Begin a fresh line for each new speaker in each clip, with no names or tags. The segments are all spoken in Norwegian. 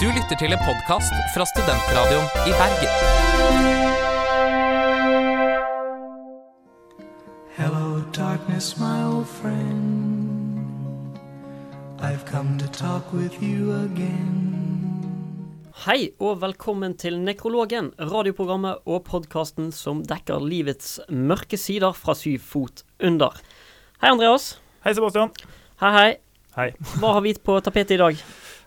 Du lytter til en podkast fra Studentradioen i Bergen.
Hello, darkness, my old friend. I've come to talk with you again.
Hei og velkommen til Nekrologen, radioprogrammet og podkasten som dekker livets mørke sider fra syv fot under. Hei, Andreas.
Hei, Sebastian.
Hei, hei.
Hei.
Hva har vi på tapetet i dag?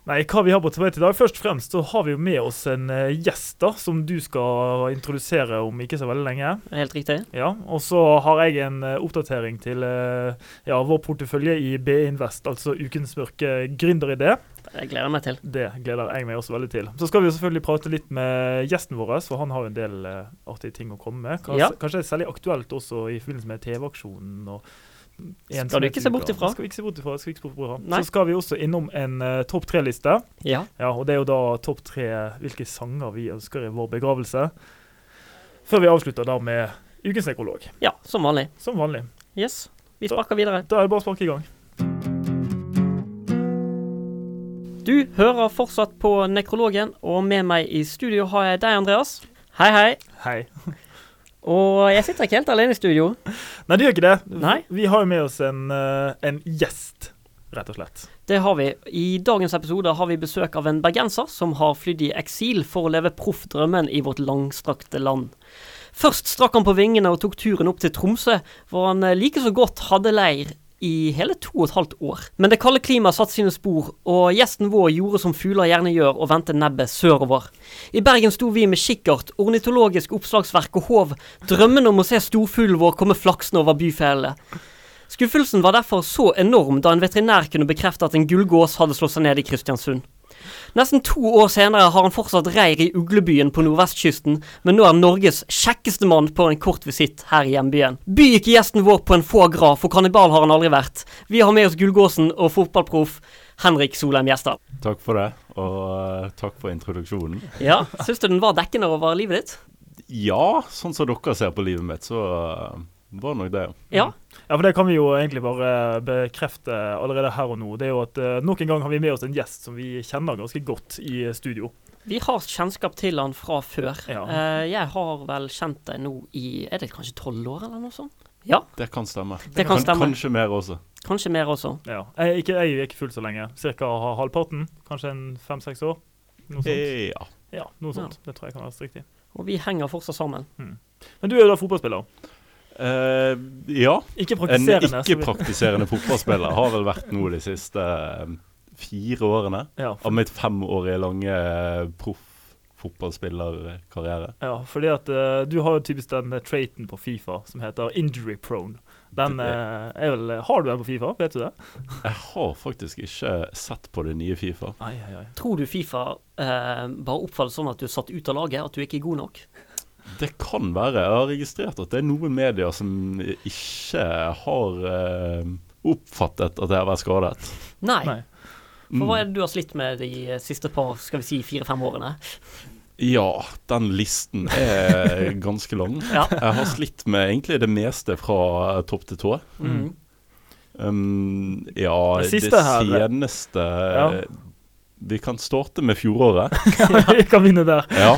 Nei, hva vi har på tapetet i dag? Først og fremst så har vi jo med oss en eh, gjest da, som du skal introdusere om ikke så veldig lenge.
Er det Helt riktig?
Ja, Og så har jeg en eh, oppdatering til eh, ja, vår portefølje i BI Invest, altså ukens mørke gründeridé.
Jeg gleder meg til.
Det gleder jeg meg også veldig til. Så skal vi jo selvfølgelig prate litt med gjesten vår, for han har jo en del eh, artige ting å komme med. Kanskje,
Ja.
kanskje det er særlig aktuelt også i forbindelse med TV-aksjonen. og
Skal du
ensomhet
ikke
i
se
uka.
bort ifra?
Skal vi ikke se bort ifra. Skal vi ikke se bort ifra.
Nei.
Så skal vi også innom en eh, topp tre-liste.
Ja.
Ja, og det er jo da topp tre hvilke sanger vi ønsker i vår begravelse. Før vi avslutter da med ukens nekrolog,
ja, som vanlig.
som vanlig.
Yes. Vi sparker videre.
Da er det bare å sparke i gang.
Du hører fortsatt på Nekrologen, og med meg i studio har jeg deg, Andreas. Hei, hei.
Hei.
Og jeg sitter ikke helt alene i studio.
Nei, det gjør ikke det.
Nei.
Vi har jo med oss en, eh, en gjest, rett og slett.
Det har vi. I dagens episode har vi besøk av en bergenser som har flydd i eksil for å leve proffdrømmen i vårt langstrakte land. Først strakk han på vingene og tok turen opp til Tromsø, hvor han eh, like så godt hadde leir i hele to og et halvt år. Men det kalde klimaet satte sine spor, og gjesten vår gjorde som fugler gjerne gjør, og vendte nebbet sørover. I Bergen sto vi med kikkert, ornitologisk oppslagsverk og håv, drømmen om å se storfuglen vår komme flaksende over byfjellene. Skuffelsen var derfor så enorm da en veterinær kunne bekrefte at en gullgås hadde slått seg ned i Kristiansund. Nesten to år senere har han fortsatt reir i uglebyen på nordvestkysten, men nå er Norges kjekkeste mann på en kort visitt her i hjembyen. By ikke gjesten vår på en foie gras, for kannibal har han aldri vært. Vi har med oss gullgåsen og fotballproff Henrik Solheim Gjesdal.
Takk for det, og eh, takk for introduksjonen.
Ja, syns du den var dekkende over livet ditt?
Ja, sånn som dere ser på livet mitt, så eh, var nok det.
Ja.
Ja, for det kan vi jo egentlig bare bekrefte allerede her og nå. Det er jo at eh, nok en gang har vi med oss en gjest som vi kjenner ganske godt i studio.
Vi har kjennskap til han fra før.
Ja.
Eh, Jeg har vel kjent deg nå i Er det kanskje tolv år, eller noe sånt? Ja,
Det kan stemme.
Det kan
Kan-
stemme.
Kanskje mer også.
kanskje mer også.
Ja. Jeg, er ikke, jeg er jo ikke fullt så lenge. Cirka ha- halvparten. Kanskje en fem-seks år. Noe sånt.
Eh, Ja.
Ja, noe sånt. Det tror jeg kan være riktig.
Og vi henger fortsatt sammen.
Men du er jo da fotballspiller.
Eh, ja.
Ikke
En
praktiserende. så vi-
ikke-praktiserende fotballspiller har vel vært noe de siste eh, fire årene
ja,
av mitt femårige lange eh, proff fotballspillerkarriere.
ja, fordi at eh, du har jo typisk den eh, traiten på Fifa som heter injury prone. Den eh, er vel Har du den på Fifa, vet du det?
Jeg har faktisk ikke sett på det nye Fifa.
Ai, ai, ai.
Tror du Fifa eh, bare oppfatter sånn at du er satt ut av laget, at du ikke er god nok?
Det kan være. Jeg har registrert at det er noen medier som ikke har eh, oppfattet at jeg har vært skadet.
Nei.
Nei.
For hva er det du har slitt med de siste par, skal vi si, fire-fem årene?
Ja, den listen er ganske lang.
Ja.
Jeg har slitt med egentlig det meste fra eh, topp til tå.
Mm.
Um, ja,
Det
det,
siste her-
seneste eh,
Ja.
Vi kan starte med fjoråret.
Vi kan vinne der.
Ja.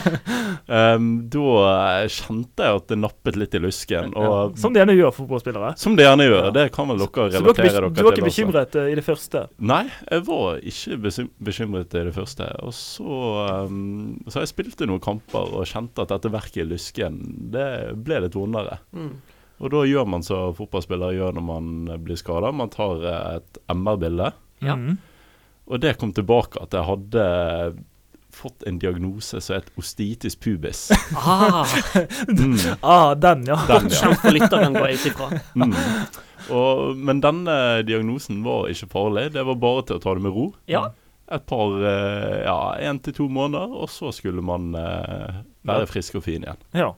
Um, da kjente jeg at det nappet litt i lusken.
Ja.
Og, eh,
Som det gjerne gjør fotballspillere.
som det gjerne gjør.
Ja.
Det kan vel dere
Så du var ikke,
relatere dere
bek-
til.
du var ikke
også.
bekymret eh, i det første?
Nei, jeg var ikke besym- bekymret i det første. Og så, um, så jeg spilte noen kamper og kjente at dette verket i lysken det ble litt vondere.
Mm.
Og da gjør man som fotballspiller gjør når man blir skada. Man tar eh, et MR-bilde,
Ja.
Mhm.
og det kom tilbake at jeg hadde fått en diagnose som het ostitis pubis.
Ah,
Mm,
Ah, den, ja.
den, ja.
kjent for lytteren, går jeg ut ifra.
Mm. Og, men denne diagnosen var ikke farlig. Det var bare til å ta det med ro.
Ja.
Et par eh, Ja, én til to måneder, og så skulle man eh,
Ja.
være frisk og fin igjen.
ja.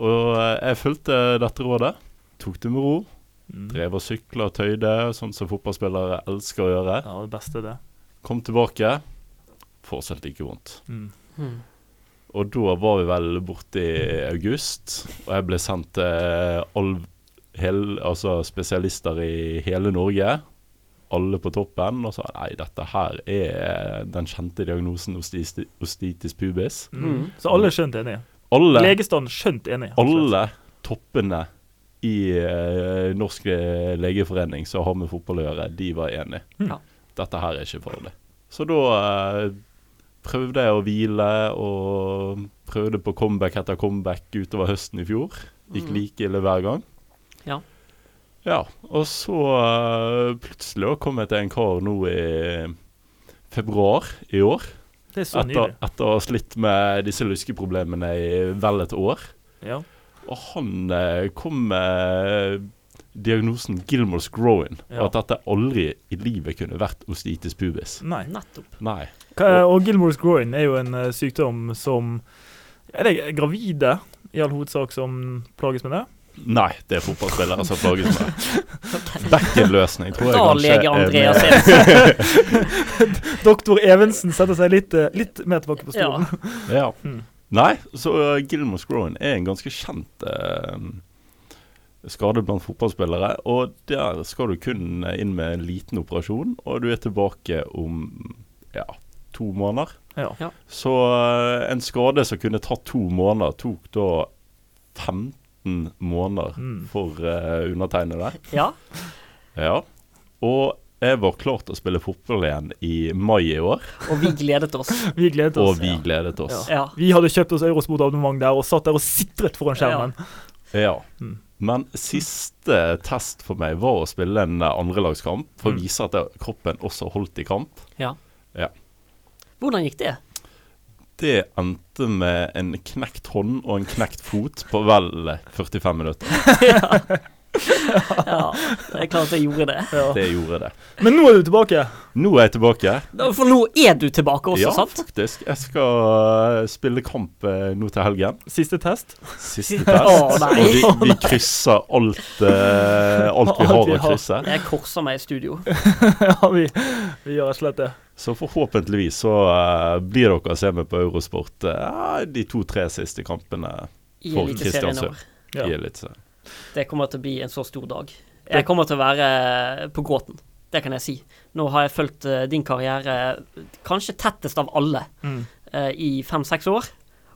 Og eh, jeg fulgte dette rådet. Tok det med ro.
Mm.
Drev og sykla og tøyde, sånn som fotballspillere elsker å gjøre.
Ja, det beste det.
Kom tilbake. Fortsatt like vondt.
Mm.
Mm.
Og da var vi vel borte i august, og jeg ble sendt eh, til all, hel, altså spesialister i hele Norge. alle på toppen og sa nei, dette her er den kjente diagnosen osteist- ostitis pubis.
Mm. Så alle er skjønt enige.
Alle,
Legestanden skjønt enig. rett og slett.
alle toppene i eh, Norsk eh, legeforening som har med fotball å gjøre, de var enige.
Ja.
Dette her er ikke farlig. Så da eh, prøvde jeg å hvile og prøvde på comeback etter comeback utover høsten i fjor. Gikk like ille hver gang.
Mm. Ja.
Ja, og så eh, plutselig da kom jeg til en kar nå i februar i år.
Det er så
Etter,
nydelig.
etter å ha slitt med disse luskeproblemene i vel et år.
Ja.
Og han eh, kom med diagnosen Gilmore's growing,
Ja.
og at dette aldri i livet kunne vært ostitis pubis.
Nei.
Nettopp.
Nei.
Hva- Og Gilmore's groin er jo en eh, sykdom som Er det gravide i all hovedsak som plages med det?
Nei, det er fotballspillere som plages med det. Bekkenløsning tror jeg
Da
kanskje
lege
er
Andreas
mer-
Eriksen.
Doktor Evensen setter seg litt, eh, litt mer tilbake på
Ja.
stolen.
Ja.
Mm.
Nei, så uh, Gilmore's Growing er en ganske kjent eh, skade blant fotballspillere. Og der skal du kun inn med en liten operasjon, og du er tilbake om ja, to måneder.
Ja.
Så eh, en skade som kunne tatt to måneder, tok da 15 måneder
Mm.
for eh, undertegnede.
Ja.
Ja. Og jeg var klar til å spille fotball igjen i mai i år,
Og vi gledet oss.
Vi gledet
og
oss.
vi gledet oss.
Ja.
Vi hadde kjøpt oss Eurosport-abonnement der og satt der og sitret foran skjermen.
Ja.
Mm.
Men siste test for meg var å spille en eh, andrelagskamp for
Mm.
å vise at jeg- kroppen også holdt i kamp.
ja.
Ja.
Hvordan gikk det?
Det endte med en knekt hånd og en knekt fot på vel eh, 45 minutter.
Ja, det er klart jeg gjorde det.
Ja.
Det gjorde det.
Men nå er du tilbake.
Nå er jeg tilbake.
Da- For nå er du tilbake også,
ja,
sant?
faktisk. Jeg skal eh, spille kamp eh, nå til helgen.
Siste test.
Siste test.
Å, nei.
og vi, vi krysser alt, eh, alt vi
Alt
har
vi
å
har.
krysse.
Jeg korser meg i studio.
ja, vi, vi gjør rett og slett det.
Så forhåpentligvis så eh, blir dere å se meg på Eurosport eh, de to-tre siste kampene.
I
For
Eliteserien i år.
Ja.
i Eliteserien.
Det kommer til å bli en så stor dag. Jeg kommer til å være på gråten. Det kan jeg si. Nå har jeg fulgt eh, din karriere eh, kanskje tettest av alle
Mm.
eh, i fem-seks år.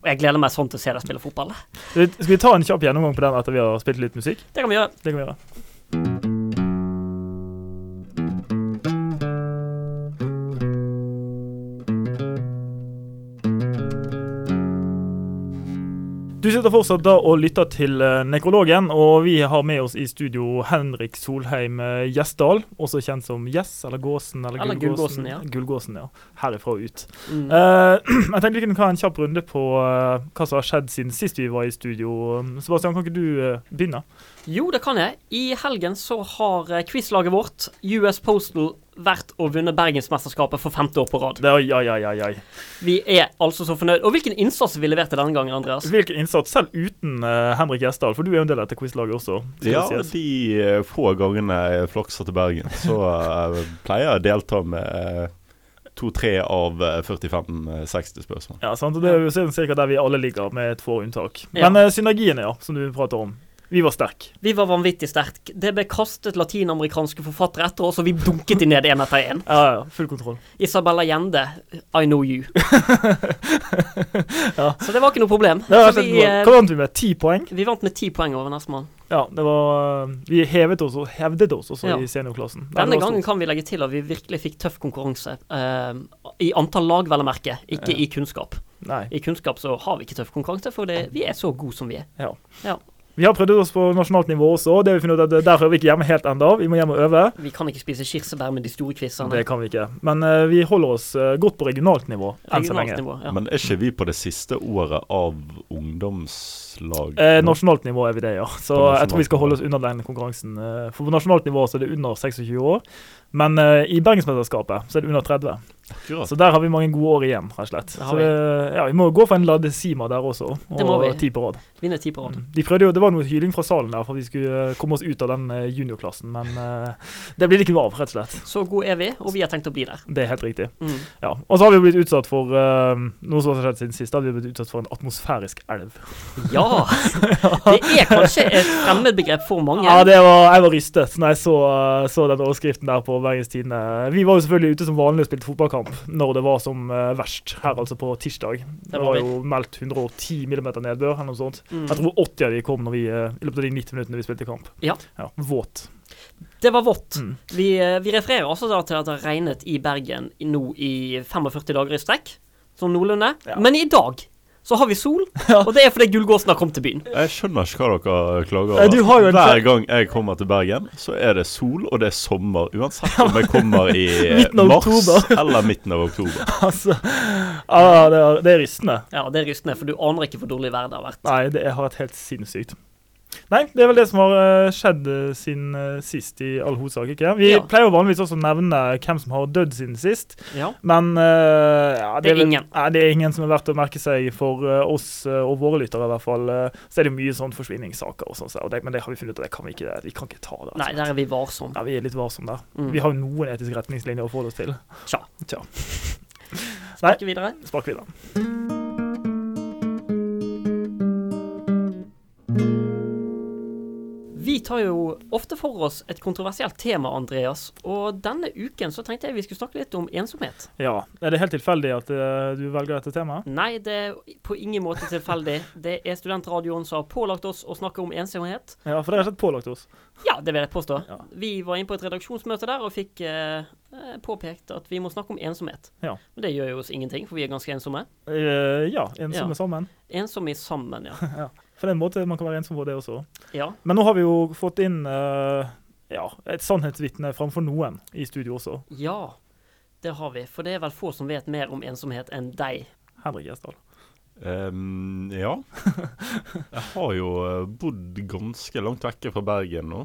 Og jeg gleder meg sånn til å se deg spille fotball.
Skal vi- Skal vi ta en kjapp gjennomgang på den etter vi har spilt litt musikk?
Det kan vi gjøre.
Det kan vi gjøre. Du sitter fortsatt da og lytter til eh, Nekrologen, og vi har med oss i studio Henrik Solheim eh, Gjesdal, også kjent som Gjess eller Gåsen eller,
Eller
Gullgåsen.
Gullgåsen, ja.
Gullgåsen, ja. Herifra og ut.
Mm.
Eh, jeg tenkte vi kunne ta en kjapp runde på eh, hva som har skjedd siden sist vi var i studio. Sebastian, kan ikke du eh, begynne?
Jo, det kan jeg. I helgen så har eh, quizlaget vårt, US Postal, vært og vunnet Bergensmesterskapet for femte år på rad.
Det, oi, oi, oi, oi, oi.
Vi er altså så fornøyd. Og hvilken innsats vi leverte denne gangen, Andreas.
Altså, Hvilken innsats, selv uten eh, Henrik Gjesdal, for du er jo en del av dette quizlaget også. skal
Ja,
det sies.
de eh, få gangene jeg flakser til Bergen, så eh, pleier jeg å delta med eh, to-tre av eh, 45-60 spørsmål.
ja sant? Og det er jo sånn cirka der vi alle ligger, med et få unntak.
Ja.
Men eh, synergiene, ja, som du prater om. Vi var sterke.
Vi var vanvittig sterke. Det ble kastet latinamerikanske forfattere etter oss, og vi dunket de ned én etter én.
Ja, ja, ja, full kontroll.
Isabella Gjende, I know you.
Ja.
Så det var ikke noe problem.
Det var
Så
rett og
vi,
slett bra.
eh,
Hva vant vi med? Ti poeng?
vi vant med ti poeng over nestemann.
Ja, det var, eh, vi hevet oss og hevdet oss også
Ja.
i seniorklassen. Nei,
Denne
det var
gangen
stort.
kan vi legge til at vi virkelig fikk tøff konkurranse. eh, I antall lag, vel å merke, ikke i kunnskap.
Nei.
I kunnskap så har vi ikke tøff konkurranse, for det, vi er så gode som vi er.
Ja.
Ja.
Vi har prøvd oss på nasjonalt nivå også, og det har vi funnet ut at det- der hører vi ikke hjemme helt ennå. Vi må hjem og øve.
Vi kan ikke spise kirsebær med de store quizene.
Det kan vi ikke. Men eh, vi holder oss eh, godt på regionalt nivå enn så
Regionalt
lenge.
nivå. Ja.
Men er ikke vi på det siste året av ungdomslag?
Eh,
nå?
nasjonalt nivå er vi det, ja. Så
På
jeg tror vi skal
nasjonalt
holde oss unna den konkurransen. eh, For på nasjonalt nivå så er det under 26 år, men eh, i Bergensmesterskapet så er det under 30.
Akkurat.
Så der har vi mange gode år igjen, rett og slett.
Det har
Så
vi.
det, ja, vi må gå for en ladesima der også,
Det må
og
vi.
ti på rad. Mm.
Vinne ti på rad.
De prøvde jo, Det var noe hyling fra salen der for at vi skulle eh, komme oss ut av den eh, juniorklassen, men eh, det blir det ikke noe av, rett og slett.
Så gode er vi, og vi har tenkt å bli der.
Det er helt riktig.
Mm.
Ja. Og så har vi jo blitt utsatt for eh, noe som har skjedd siden sist. da har Vi blitt utsatt for en atmosfærisk elv.
Ja! Det er kanskje et fremmedbegrep for mange.
Ja, det var, jeg var rystet når jeg så, så den overskriften der på Bergens Tidende. Vi var jo selvfølgelig ute som vanlig og spilte fotballkamp når det var som eh, verst, her altså på tirsdag. Det
var
var
vi.
jo meldt 110 millimeter nedbør eller noe sånt.
Mm.
Jeg tror 80 av de kom når vi, eh, i løpet av de 90 minuttene vi spilte kamp.
Ja.
Våt.
Det var vått.
Mm.
Vi, eh, vi refererer også da til at det har regnet i Bergen i- nå i 45 dager i strekk, sånn noenlunde.
Ja.
Men i dag så har vi sol, og det er fordi Gullgåsen har kommet til byen.
Jeg skjønner ikke hva dere klager
Nei, Eh, du har jo
over.
en-
Hver gang jeg kommer til Bergen, så er det sol og det er sommer. Uansett om jeg kommer i
Midten av
mars
oktober.
eller midten av oktober.
Altså, ja, det, er, det er rystende.
Ja, det er rystende, for du aner ikke hvor dårlig været det har vært.
Nei, det har vært helt sinnssykt. Nei, det er vel det som har eh, skjedd eh, siden eh, sist i all hovedsak. ikke? Vi
Ja.
pleier jo vanligvis også å nevne hvem som har dødd siden sist.
Ja.
Men eh, ja,
Det er
vel-
ingen.
Nei, det er ingen som er verdt å merke seg for eh, oss eh, og våre lyttere, i hvert fall. eh, så er det mye sånn forsvinningssaker og sånn, så- og det, men det har vi funnet ut at det kan vi ikke, vi kan ikke ta. det. altså.
Nei, der er vi varsomme.
Ja, vi er litt varsomme der.
Mm.
Vi har jo noen etiske retningslinjer å forholde oss til.
Tja.
Tja.
Snakker videre.
Spark videre.
Vi tar jo ofte for oss et kontroversielt tema, Andreas, og denne uken så tenkte jeg vi skulle snakke litt om ensomhet.
Ja. Er det helt tilfeldig at eh, du velger dette temaet?
Nei, det er på ingen måte tilfeldig. Det er studentradioen som har pålagt oss å snakke om ensomhet.
Ja, for det er rett og slett pålagt oss.
Ja, det vil jeg påstå.
Ja.
Vi var inne på et redaksjonsmøte der og fikk eh, eh, påpekt at vi må snakke om ensomhet.
Ja.
Men det gjør jo oss ingenting, for vi er ganske ensomme.
Eh, ja, ensomme
Ja.
sammen.
Ensomme sammen, ja.
For det er en måte man kan være ensom på, det også.
Ja,
Men nå har vi jo fått inn eh, ja, et sannhetsvitne framfor noen i studio også.
ja. Det har vi. For det er vel få som vet mer om ensomhet enn deg.
Henrik Gjesdal.
Ehm, ja. Jeg har jo eh, bodd ganske langt vekke fra Bergen nå.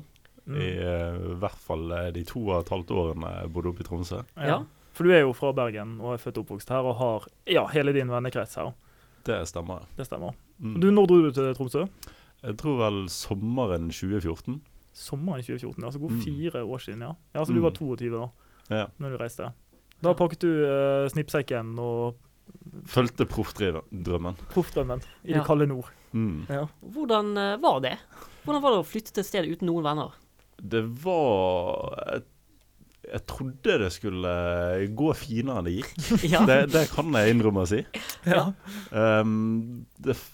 Mm.
I eh, hvert fall eh, de to og et halvt årene jeg bodde oppe i Tromsø.
Ja.
Ja.
For du er jo fra Bergen og er født og oppvokst her og har ja, hele din vennekrets her.
Det stemmer.
Det stemmer.
Mm.
Du, når dro du til Tromsø?
Jeg tror vel sommeren 2014.
Sommeren 2014. Altså
Mm.
gode fire år siden, ja. ja altså
Mm.
du var 22 da
Ja.
når du reiste. Da pakket du eh, snippsekken og
Fulgte proffdrømmen.
proffdrømmen i
Ja.
det kalde nord.
Mm.
Ja.
Hvordan eh, var det? Hvordan var det å flytte til et sted uten noen venner?
Det var jeg, jeg trodde det skulle gå finere enn det gikk.
Ja.
Det, det kan jeg innrømme å si.
Ja.
Ehm, det f-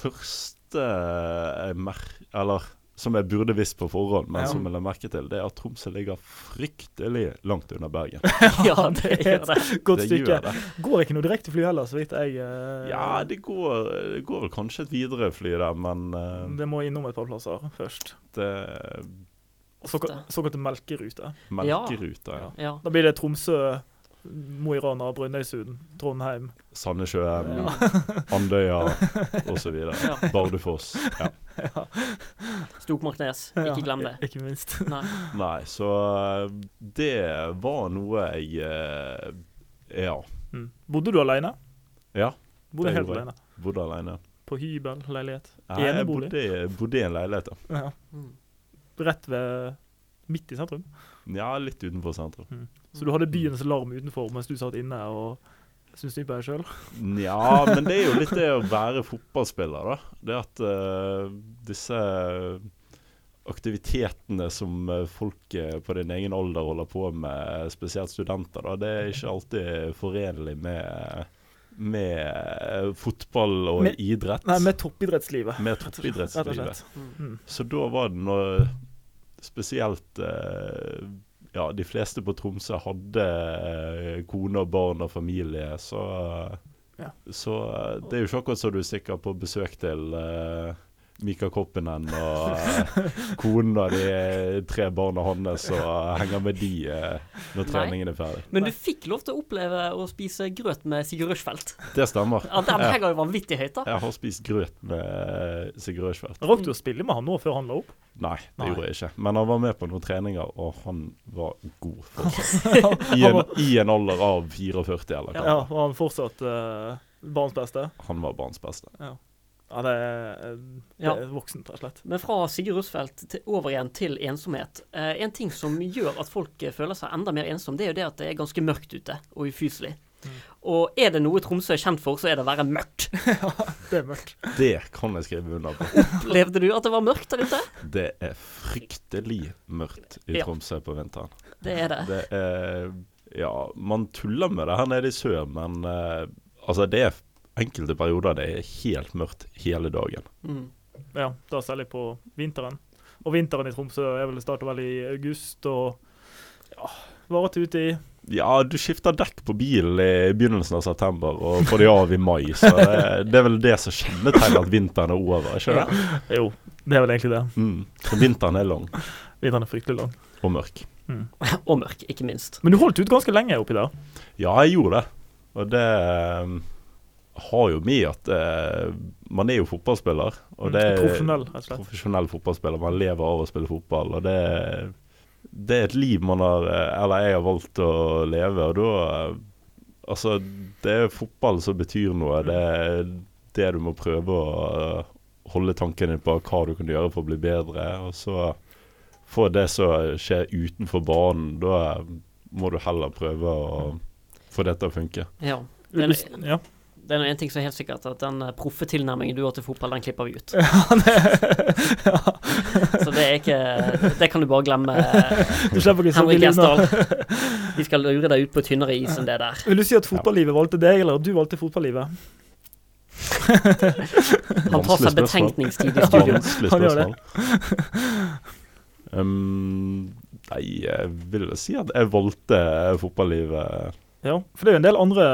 første jeg mer... Eller som jeg burde visst på forhånd, men
Ja.
som jeg la merke til, det er at Tromsø ligger fryktelig langt under Bergen.
ja, det gjør det.
Godt
det
stykke.
gjør det.
Går ikke noe direktefly heller, så vidt jeg eh,
Ja, det går, det går vel kanskje et Widerøe-fly der, men eh,
Det må innom et par plasser først.
det
Såkal- Såkalte melkerute.
Melkeruta, ja.
Ja.
Ja.
Da blir det Tromsø, Mo i Rana, Brønnøysund, Trondheim.
Sandnessjøen,
Ja.
Mm.
Andøya osv.
Ja.
Bardufoss. Ja.
Stokmarknes,
Ja,
ikke glem det.
Ikke minst.
Nei.
Nei, så eh, det var noe jeg eh, Ja.
Mm. Bodde du alene?
ja
Bodde
Det
helt
gjorde jeg.
alene.
bodde alene.
På hybel, leilighet.
Nei, jeg
Enebolig?
bodde, i- bodde i en leilighet. da.
Ja.
Mm.
Rett ved midt i sentrum.
Ja, litt utenfor sentrum.
Så du hadde byens larm utenfor mens du satt inne og syntes synd på deg sjøl?
Nja, men det er jo litt det å være fotballspiller, da. Det at eh, disse aktivitetene som eh, folk eh, på din egen alder holder på med, spesielt studenter, da, det er ikke alltid forenlig med, med eh, fotball og
Med-
idrett.
Nei, med toppidrettslivet.
med
Rett og
toppidrettslivet.
slett.
Så da var det noe spesielt eh, Ja, de fleste på Tromsø hadde eh, kone og barn og familie, så
Ja.
Så eh, det er jo ikke akkurat så du stikker på besøk til eh, Mika Koppinen og eh, konen og de tre barna hans og henger med de eh, når
Nei.
treningen er ferdig.
Men du fikk lov til å oppleve å spise grøt med Sigurd Rushfeldt.
Det stemmer.
Ja, den
Ja.
henger jo vanvittig høyt, da.
Jeg har spist grøt med eh, Sigurd Rushfeldt.
Rakk du å spille med han nå før han la opp?
Nei, det
Nei.
gjorde jeg ikke. Men han var med på noen treninger, og han var god fortsatt. I en, I en alder av 44, eller hva.
Ja, Var han fortsatt eh, barns beste?
Han var barns beste.
Ja, det er, eh, det
Ja.
er voksent, rett og slett.
Men fra Sigurd Rushfeldt til, over igjen til ensomhet. Eh, en ting som gjør at folk eh, føler seg enda mer ensom, det er jo det at det er ganske mørkt ute og ufyselig. Og er det noe Tromsø er kjent for, så er det å være mørkt.
Det er mørkt.
Det kan jeg skrive under på.
Opplevde du at det var mørkt der ute?
Det er fryktelig mørkt i
Ja.
Tromsø på vinteren.
Det er det.
Det er Ja, man tuller med det her nede i sør, men eh, altså, det er enkelte perioder det er helt mørkt hele dagen.
Mm.
Ja, da særlig på vinteren. Og vinteren i Tromsø er vel starter vel i august og ja, varer til ute i
Ja, du skifter dekk på bilen i begynnelsen av september og får de av i mai, så det, det er vel det som kjennetegner at vinteren er over, ikke det?
Jo, det er vel egentlig det.
Mm. Så vinteren er lang
Vinteren er fryktelig lang.
og mørk.
Og mørk, ikke minst.
Men du holdt ut ganske lenge oppi der.
Ja, jeg gjorde det. Og det eh, har jo med at eh, man er jo fotballspiller.
Mm,
Og det
Profesjonell, rett og slett.
profesjonell fotballspiller. Man lever av å spille fotball, og det, det er et liv man har eh, Eller jeg har valgt å leve, og da eh, Altså, det er fotball som betyr noe. Det er det du må prøve å eh, holde tankene på hva du kan gjøre for å bli bedre, og så få det som skjer utenfor banen. Da eh, må du heller prøve å få det til å funke.
Ja. Det er,
Ulys- Ja.
det er nå en ting som er helt sikkert, at den eh, proffe tilnærmingen du har til fotball, den klipper vi ut. Så det er ikke eh, Det kan du bare glemme, eh,
Du slipper ikke så
Henrik
billig unna.
Gjesdal. Vi skal lure deg ut på tynnere is enn det der.
Vil du si at fotballivet valgte deg, eller at du valgte fotballivet?
Han tar seg
Vanskelig spørsmål.
betenkningstid i studio.
Vanskelig
Han gjør det.
spørsmål. Um, nei, jeg vil si at jeg valgte fotballivet.
Ja, for det er jo en del andre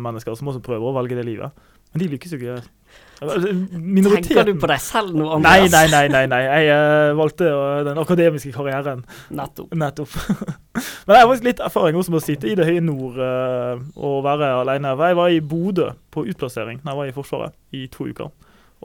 mennesker som også prøver å velge det livet, men de lykkes jo ikke. Eller, altså,
Tenker du
Minoriteten
på deg selv nå,
Nei,
Andreas?
nei, nei. nei, nei. Jeg eh, valgte eh, den akademiske karrieren.
Nettopp.
Nettopp. Men jeg har faktisk litt erfaring også med å sitte i det høye nord eh, og være alene. For Jeg var i Bodø på utplassering da jeg var i Forsvaret i to uker.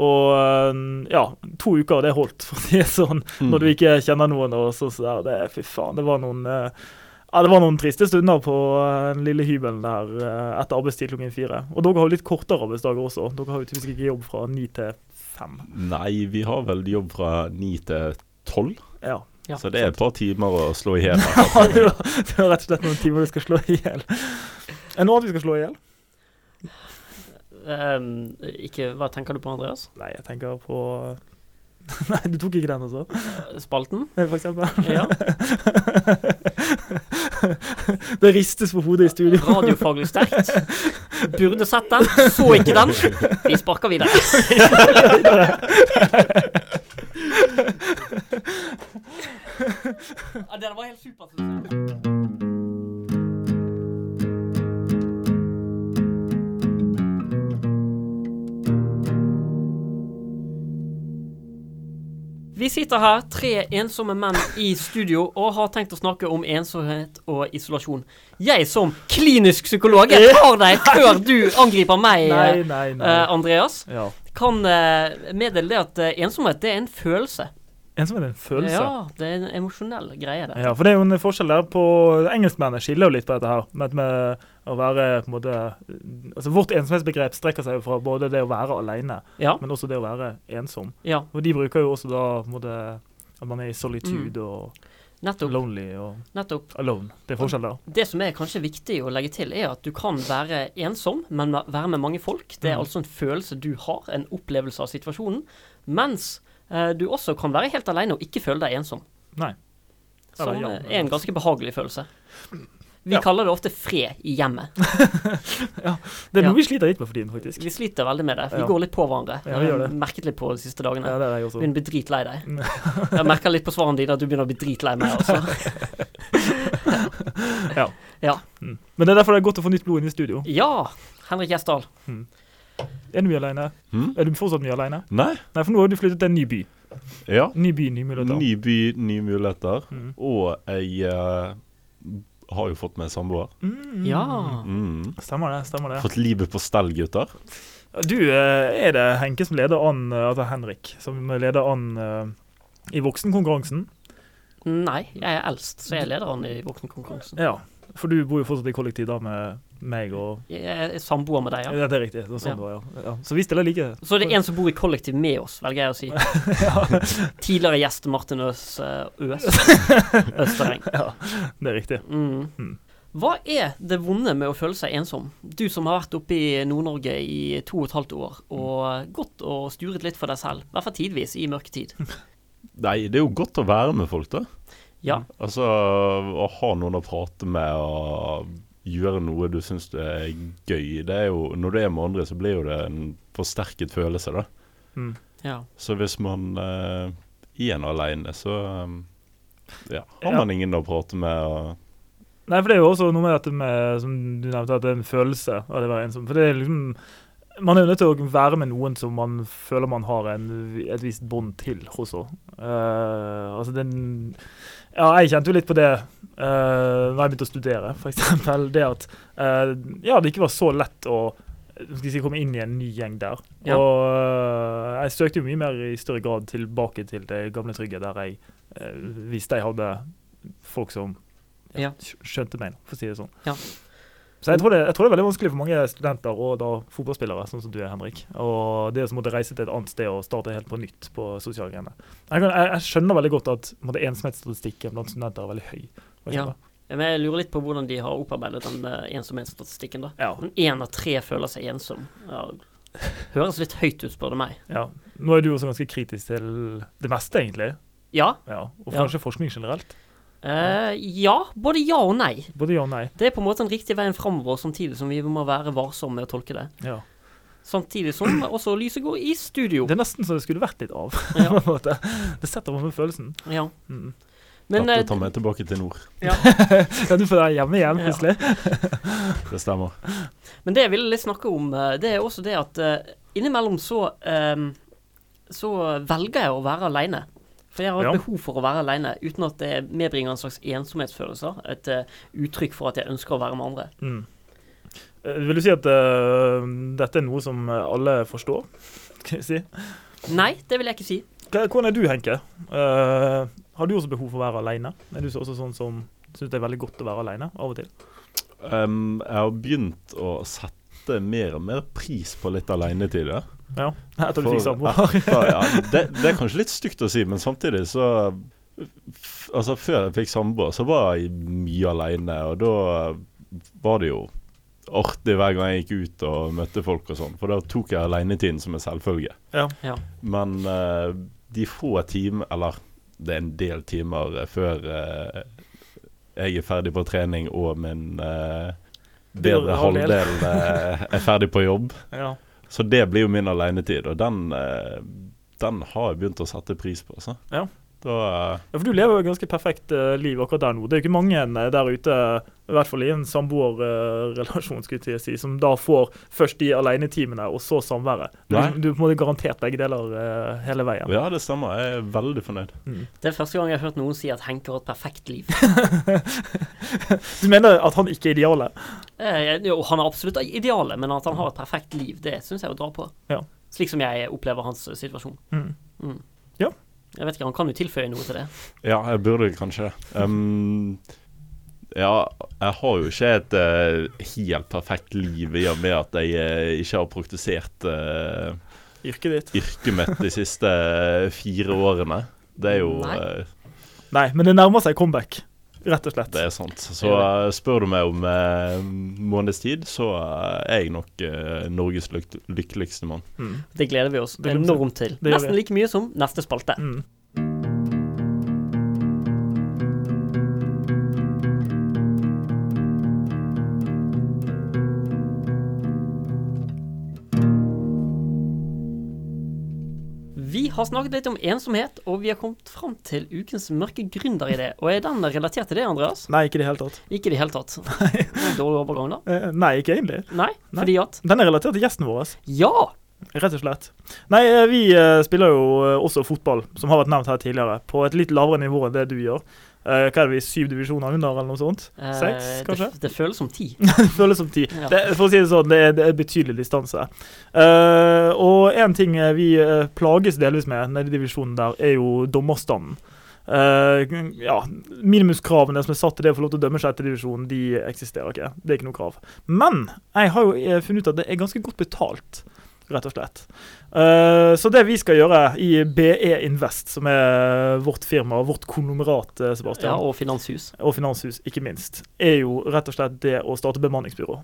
Og eh, ja, to uker, det holdt, for å si det sånn. Når du ikke kjenner noen og så, så der, det, Fy faen, det var noen eh, ja, det var noen triste stunder på eh, den lille hybelen der eh, etter arbeidstid klokken fire. Og dere har jo litt kortere arbeidsdager også. Dere har jo typisk ikke jobb fra ni til fem.
Nei, vi har vel jobb fra ni til tolv,
Ja.
Ja,
så det er et par timer å slå i hjel.
Ja, det var, det var rett og slett noen timer du skal slå i hjel. Er det noe annet vi skal slå i hjel?
Ehm, ikke, hva tenker du på, Andreas?
Nei, jeg tenker på Nei, du tok ikke den, altså?
Spalten?
For eksempel.
Ja.
Det ristes på hodet i studio.
Radiofaglig sterkt. Burde sett den, så ikke den. Vi sparker videre. ja, det var helt supert. Vi sitter her, tre ensomme menn i studio, og har tenkt å snakke om ensomhet og isolasjon. Jeg som klinisk psykolog jeg tar deg før du angriper meg,
Nei, nei, nei.
eh, Andreas.
Ja.
Kan eh, meddele det at eh, ensomhet det er en følelse.
Ensomhet er en følelse.
Ja, det er en emosjonell greie, det.
Ja, for det er jo en forskjell der på Engelskmennene skiller jo litt på dette her. Med, med å være på en måte Altså Vårt ensomhetsbegrep strekker seg jo fra både det å være alene,
Ja.
men også det å være ensom.
ja
Og de bruker jo også da på en måte at man er i solitude
Mm.
og
nettopp,
lonely og
nettopp.
alone. Det er forskjell der.
Det som er kanskje viktig å legge til, er at du kan være ensom, men ma- være med mange folk. Det er
Mm.
altså en følelse du har, en opplevelse av situasjonen. Mens eh, du også kan være helt alene og ikke føle deg ensom.
Nei.
Som
Eller ja,
eh, er en ganske behagelig følelse. Vi
Ja.
kaller det ofte fred i hjemmet.
Det er
Ja.
noe vi sliter litt med for tiden, faktisk.
Vi sliter veldig med det. Vi
Ja.
går litt på hverandre.
Ja, vi
Jeg
gjør det.
har Merket litt på de siste dagene.
Ja, det er jeg også.
Begynner å bli dritlei deg. Jeg merker litt på svarene dine at du begynner å bli dritlei meg altså. også.
Mm. Men det er derfor det er godt å få nytt blod inn i studio.
Ja, Henrik Gjesdal.
Er du mye alene?
Mm.
Er du fortsatt mye alene?
Nei,
Nei, for nå har du flyttet til en ny by.
ja.
Ny by, nye muligheter.
Ny by, nye muligheter.
Mm.
Og jeg eh, har jo fått meg samboer.
Mm.
Ja.
Mm.
Stemmer det. stemmer det.
Fått livet på stell, gutter.
Du, eh, er det Henke som leder an, eh, altså Henrik, som leder an eh, i voksenkonkurransen?
Nei, jeg er eldst, så jeg er lederen i voksenkonkurransen.
Ja. For du bor jo fortsatt i kollektiv da med meg og
Jeg er samboer med deg,
Ja,
ja.
det er riktig. Det var sånn det var, ja. ja. Så vi stiller like.
Så det er en som bor i kollektiv med oss, velger jeg å si. Tidligere gjest Martin Øs, eh, Øs Østereng.
Det er riktig.
Mm.
Mm.
Hva er det vonde med å føle seg ensom? Du som har vært oppe i Nord-Norge i to og et halvt år
Mm.
og gått og sturet litt for deg selv, i hvert fall tidvis i mørketid.
Mm.
Nei, det er jo godt å være med folk, da.
Mm.
Ja,
Altså å ha noen å prate med og gjøre noe du syns er gøy. Det er jo, når du er med andre, så blir jo det en forsterket følelse, da.
Mm.
ja.
Så hvis man eh, er en alene, så eh, ja, har
Ja.
man ingen å prate med. Og,
Nei, for det er jo også noe med dette med, som du nevnte, at det er en følelse av det å være ensom. For det er liksom Man er jo nødt til å være med noen som man føler man har en, et visst bånd til også. Eh, altså den Ja, jeg kjente jo litt på det uh, når jeg begynte å studere, for eksempel. Det at eh, Ja, det ikke var så lett å hva skal jeg si, komme inn i en ny gjeng der.
Ja.
Og eh, jeg søkte jo mye mer i større grad tilbake til det gamle Trygge, der jeg eh, visste jeg hadde folk som
Ja.
ja. skj- skjønte meg, for å si det sånn.
Ja.
Så jeg tror, det, jeg tror det er veldig vanskelig for mange studenter og da fotballspillere, sånn som du er, Henrik. Og det som måtte reise til et annet sted og starte helt på nytt på sosiale greiene. Jeg, kan, jeg, jeg skjønner veldig godt at på en måte, ensomhetsstatistikken blant studenter er veldig høy.
Ja.
for eksempel.
Men jeg lurer litt på hvordan de har opparbeidet den eh, ensomhetsstatistikken, da.
Ja.
Men én av tre føler seg ensom. Ja. Høres litt høyt ut, spør du meg.
ja. Nå er du også ganske kritisk til det meste, egentlig.
Ja.
Ja. Og
Ja.
kanskje forskning generelt.
Eh, ja. Både ja og nei.
Både ja og nei.
Det er på en måte den riktige veien framover, samtidig som vi må være varsomme med å tolke det.
Ja.
Samtidig som også lyset går i studio.
Det er nesten så det skulle vært litt av.
Ja.
på en måte. det setter meg med følelsen.
Ja.
Mm.
Men
Dette
eh,
tar meg tilbake til nord.
Ja, du får være hjemme igjen,
Ja.
plutselig.
Det stemmer.
Men det jeg ville litt snakke om, eh, det er også det at eh, innimellom så eh, Så velger jeg å være aleine. For jeg har et
Ja.
behov for å være aleine, uten at det medbringer en slags ensomhetsfølelse. Et eh, uttrykk for at jeg ønsker å være med andre.
Mm. Eh, Vil du si at eh, dette er noe som eh, alle forstår? Skal jeg si?
Nei, det vil jeg ikke si.
Hva- Hvordan er du, Henke? Eh, har du også behov for å være alene? Er du så- også sånn som syns det er veldig godt å være alene av og til?
Um, jeg har begynt å sette mer og mer pris på litt alenetid. Ja.
Ja, etter du
For-
fikk samboer.
Ja, ja. Det, det er kanskje litt stygt å si, men samtidig så f- Altså, før jeg fikk samboer, så var jeg mye aleine, og da var det jo artig hver gang jeg gikk ut og møtte folk og sånn, for da tok jeg alenetiden som en selvfølge.
Ja.
Ja.
Men eh, de få timer, eller det er en del timer eh, før eh, jeg er ferdig på trening og min eh, bedre
Halvdel.
halvdel eh, er ferdig på jobb,
Ja.
så det blir jo min alenetid, og den, eh, den har jeg begynt å sette pris på. Altså.
Ja.
Da, eh,
Ja, for du lever jo et ganske perfekt eh, liv akkurat der nå. Det er jo ikke mange eh, der ute, i hvert fall i en samboerrelasjon, skulle jeg si, som da får først de alenetimene, og så samværet. Du,
Nei.
du er på en måte garantert begge deler eh, hele veien.
ja, det stemmer. Jeg er veldig fornøyd.
Det er første gang jeg har hørt noen si at Henke har et perfekt liv.
Du mener at han ikke er idealet?
Eh, jo, han er absolutt idealet, men at han har et perfekt liv, det syns jeg er å dra på.
Ja.
Slik som jeg opplever hans eh, situasjon.
Mm.
Mm.
Ja.
Jeg vet ikke, han kan jo tilføye noe til det.
Ja, jeg burde kanskje det. Ehm, ja, jeg har jo ikke et eh, helt perfekt liv i og med at jeg eh, ikke har praktisert eh,
Yrket ditt?
yrket mitt de siste eh, fire årene. Det er jo
Nei.
eh,
Nei, men det nærmer seg comeback, rett og slett.
Det er sant. Så eh, spør du meg om eh, måneds tid, så eh, er jeg nok eh, Norges lyk lykkeligste mann.
Mm.
Det gleder vi oss
Det gleder vi oss
enormt til.
Det gjør
Nesten
vi.
like mye som neste spalte.
Mm.
Vi har snakket litt om ensomhet, og vi har kommet fram til ukens mørke gründeridé. Og er den relatert til det, Andreas?
Nei, ikke i det hele tatt.
Ikke i det hele tatt. En Dårlig overgang, da?
Eh, Nei, ikke egentlig.
Nei,
Nei.
fordi at
Den er relatert til gjesten vår.
Ja!
Rett og slett. Nei, eh, vi eh, spiller jo eh, også fotball, som har vært nevnt her tidligere, på et litt lavere nivå enn det du gjør. Eh, hva er det vi, syv divisjoner under, eller noe sånt?
eh,
Seks, kanskje?
Det, det føles som ti.
Det føles som ti.
Ja.
Det, for å si det sånn, det er, det er betydelig distanse. Eh, og en ting eh, vi eh, plages delvis med nede i divisjonen der, er jo dommerstanden. Eh, ja, minimumskravene som er satt til det å få lov til å dømme sjette divisjon, de eksisterer ikke. Det er ikke noe krav. Men jeg har jo eh, funnet ut at det er ganske godt betalt. rett og slett. Eh, så det vi skal gjøre i BE Invest, som er vårt firma, vårt konglomerat, eh, Sebastian,
Ja, og finanshus.
og finanshus, ikke minst, er jo rett og slett det å starte bemanningsbyrå.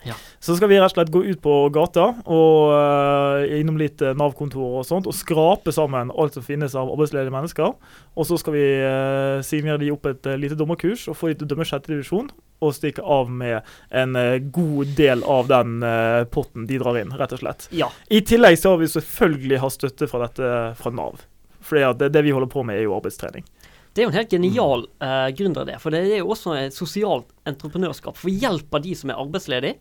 Ja.
Så skal vi rett og slett gå ut på gata og eh, innom litt eh, Nav-kontor og sånt, og skrape sammen alt som finnes av arbeidsledige mennesker. Og så skal vi uh, signere de opp et eh, lite dommerkurs og få de til å dømme sjette divisjon, og stikke av med en eh, god del av den eh, potten de drar inn, rett og slett.
Ja.
I tillegg så har vi selvfølgelig hatt støtte fra dette fra Nav. Fordi at det, det vi holder på med, er jo arbeidstrening.
Det er jo en helt genial uh, gründeridé. For det er jo også et sosialt entreprenørskap. For vi hjelper de som er arbeidsledige,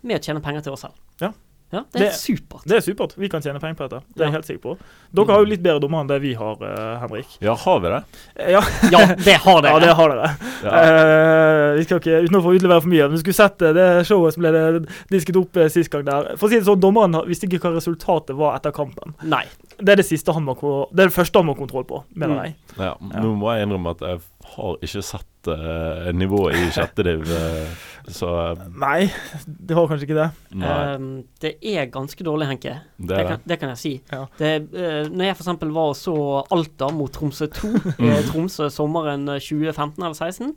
med å tjene penger til oss selv.
Ja.
det er
Det-
supert.
Det er supert. Vi kan tjene penger på dette. Det er jeg
Ja.
helt sikker på. Dere har jo litt bedre dommer enn det vi har, eh, Henrik.
Ja, har vi det?
Eh, Ja,
Ja, det har
ja
dere.
det har dere.
Ja.
Eh, vi skal ikke, Uten å få utlevere for mye, men du skulle sett det, det showet som ble det disket opp eh, sist gang der. For å si det sånn, Dommeren har- visste ikke hva resultatet var etter kampen.
Nei.
Det er det siste han må, ko- det er det første han må ha kontroll på, mener
Mm.
jeg.
ja. Nå må jeg innrømme at jeg har ikke sett eh, nivået i sjette div, eh, så eh,
Nei, det var kanskje ikke det.
nei,
Ehm, det er ganske dårlig, Henke.
det
Det
er det.
kan, det kan jeg si.
Ja.
Det, eh, når jeg f.eks. var og så Alta mot Tromsø 2 i Tromsø sommeren eh, 2015 eller 2016,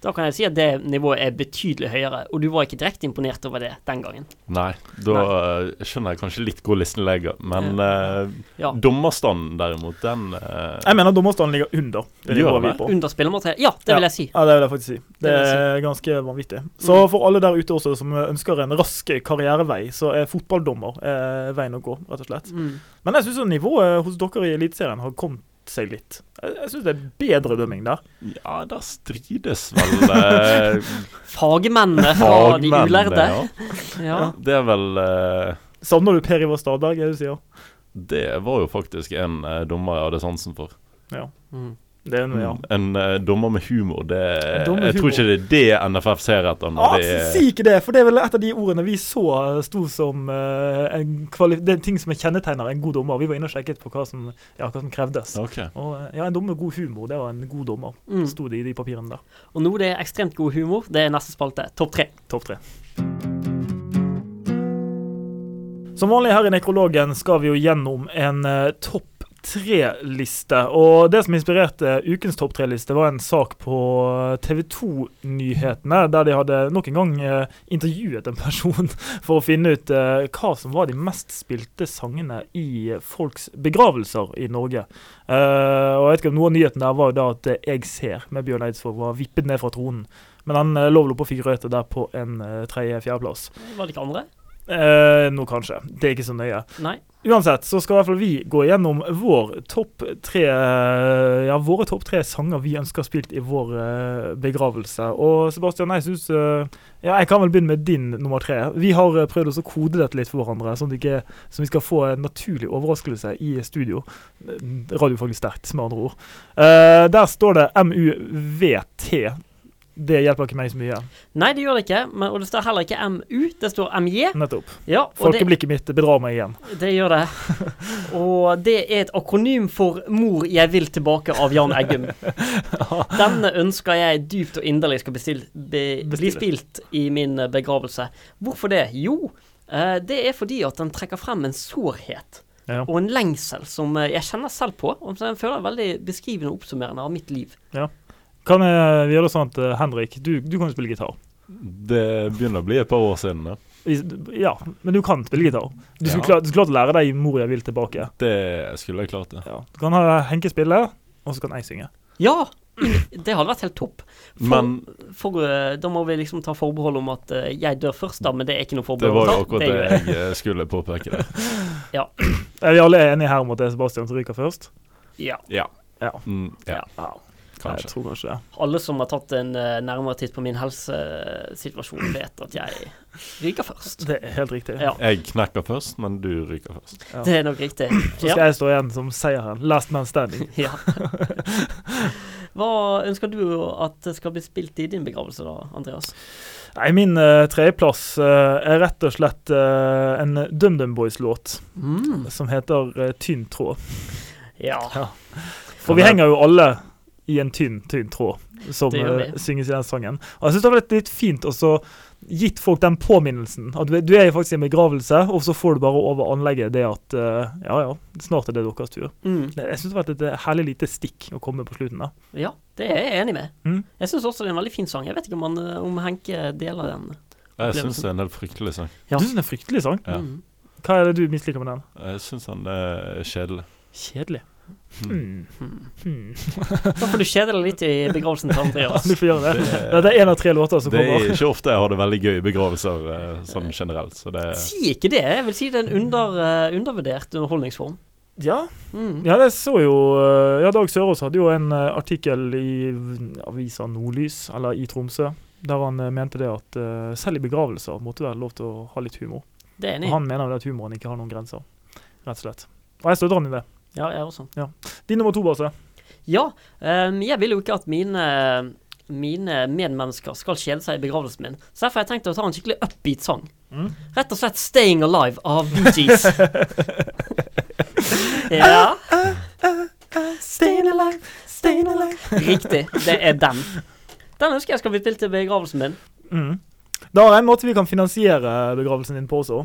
da kan jeg si at det nivået er betydelig høyere. Og du var ikke direkte imponert over det den gangen.
Nei, da eh, skjønner jeg kanskje litt hvor listen ligger, men eh,
Ja.
dommerstanden derimot, den eh,
Jeg mener dommerstanden ligger under. Det
Gjør
nivået vi
det?
er på.
Under spillermateriell. Ja, det vil jeg si.
Ja, det vil jeg faktisk si. Det
vil jeg si. Mm.
er ganske vanvittig. Så for alle der ute også som ønsker en rask karrierevei, så er fotballdommer eh, veien å gå, rett og slett.
Mm.
Men jeg syns nivået hos dere i Eliteserien har kommet seg litt. Jeg, jeg syns det er bedre dømming der.
Ja, der strides vel eh,
Fagmennene fra de
fagmennene,
ulærde.
ja.
Ja.
Det er vel eh,
Savner du Per Ivar Stadberg, er det du sier?
Det var jo faktisk en eh, dommer jeg hadde sansen for.
Mm.
Det er en, ja.
En eh, dommer med humor, det
En dommer med
Jeg tror ikke det er det NFF ser
Ah,
etter. Når det er,
si ikke det, for det er vel et av de ordene vi så sto som eh, en kvali Det er en ting som kjennetegner en god dommer. Vi var inne og sjekket på hva som, ja, hva som krevdes.
Ok.
Og, eh, ja, en dommer med god humor, det var en god dommer,
Mm.
sto det i de papirene der.
Og nå det er ekstremt god humor. Det er neste spalte. Topp tre.
Topp tre. Som vanlig her i Nekrologen skal vi jo gjennom en eh, topp tre-liste. Og det som inspirerte eh, ukens topp tre-liste, var en sak på eh, TV 2-nyhetene, der de hadde nok en gang eh, intervjuet en person for å finne ut eh, hva som var de mest spilte sangene i folks begravelser i Norge. Eh, og jeg vet ikke om noe av nyheten der var jo da at eh, 'Jeg ser' med Bjørn Eidsvåg var vippet ned fra tronen. Men han eh, lå vel oppe på Fyrøyte der på en eh, tredje-fjerdeplass.
Var det ikke andre?
Eh, nå kanskje. Det er ikke så nøye.
Nei.
Uansett så skal i hvert fall vi gå gjennom vår topp tre eh, Ja, våre topp tre sanger vi ønsker spilt i vår eh, begravelse. Og Sebastian, jeg syns eh, Ja, jeg kan vel begynne med din nummer tre. Vi har eh, prøvd også å kode dette litt for hverandre, sånn at det ikke, så vi skal få en naturlig overraskelse i studio. Eh, Radiofaglig sterkt, med andre ord. Eh, der står det MUVT. Det hjelper ikke meg så mye.
Nei, det gjør det ikke. Men, og det står heller ikke MU, det står MJ.
Nettopp.
Ja, og det,
Folkeblikket mitt bedrar meg igjen.
det gjør det. Og det er et akronym for 'Mor, jeg vil tilbake' av Jan Eggum. Denne ønsker jeg dypt og inderlig skal bestil, be, bli
Bestille.
spilt i min eh, begravelse. Hvorfor det? Jo, eh, det er fordi at den trekker frem en sårhet
Ja.
og en lengsel som eh, jeg kjenner selv på, og som jeg føler er veldig beskrivende og oppsummerende av mitt liv.
Kan jeg, vi gjøre det sånn at eh, Henrik, du, du kan jo spille gitar.
Det begynner å bli et par år siden. da.
Hvis- Ja, men du kan spille gitar. Du skulle,
Ja.
klart, du skulle klart å lære deg 'Mor, jeg vil tilbake'.
Det skulle jeg klart, det.
Du kan ha Henke spille, og så kan jeg synge.
Ja! Det hadde vært helt topp. For,
Men-
for, eh, da må vi liksom ta forbehold om at eh, jeg dør først, da, men det er ikke noe
Det
forbehold.
var jo
sant?
akkurat
Det gjør jeg.
det jeg eh, skulle påpeke der.
Er vi alle enige her om at det er Sebastian som ryker først?
Ja.
Ja.
Ja.
Mm, ja,
Ja, jeg
kanskje.
tror kanskje det.
Alle som har tatt en eh, nærmere titt på min helsesituasjon, vet at jeg ryker først.
Det er helt riktig.
Ja.
Jeg knekker først, men du ryker først.
Ja.
Det er nok riktig.
Så skal jeg stå igjen som seieren. Last man standing.
Ja. Hva ønsker du at det skal bli spilt i din begravelse, da, Andreas?
Nei, min eh, tredjeplass eh, er rett og slett eh, en DumDum Boys-låt
Mm.
som heter eh, 'Tynn tråd'.
Ja.
For vi henger jo alle i en tynn, tynn tråd, som
Det gjør vi.
eh, synges i den sangen. Og jeg syns det var litt, litt fint også gitt folk den påminnelsen. At du, du er jo faktisk i en begravelse, og så får du bare over anlegget det at eh, ja, ja, snart er det deres tur.
Mm.
Det, jeg syns det var et et herlig lite stikk å komme på slutten der.
Ja, det er jeg enig med.
Mm.
Jeg syns også det er en veldig fin sang. Jeg vet ikke om, han, eh, om Henke deler den.
Jeg syns det er en helt fryktelig sang.
Ja.
Du syns det er en fryktelig sang.
Ja.
Mm.
Hva er det du misliker med den?
Jeg syns han er kjedelig.
Kjedelig.
Mm.
Hmm.
Mm.
Hmm.
Da får du kjede deg litt i begravelsen til Andreas.
Du får gjøre det.
Det-
Dette er én av tre låter som
Det er
kommer.
ikke ofte jeg har det veldig gøy i begravelser eh, sånn generelt, så det
Si ikke det. Jeg vil si det er en under, eh, undervurdert underholdningsform.
Ja,
Mm.
ja, det så jo eh, Ja, Dag Sørås hadde jo en eh, artikkel i v- avisa Nordlys, eller i Tromsø, der han eh, mente det at eh, selv i begravelser måtte det være lov til å ha litt humor.
Det er jeg
Og
enig. i.
han mener vel at humoren ikke har noen grenser, rett og slett. Og jeg støtter han i det.
Ja, jeg også.
Din nummer to, Base.
Ja, ehm, jeg vil jo ikke at mine mine medmennesker skal kjede seg i begravelsen min. Så derfor har jeg tenkt å ta en skikkelig upbeat sang.
Mm.
Rett og slett 'Staying Alive' av Bee Gees. ja, riktig. Det er den. Den ønsker jeg skal bli spilt til begravelsen min.
Mm. Da har jeg en måte vi kan finansiere eh, begravelsen din på også.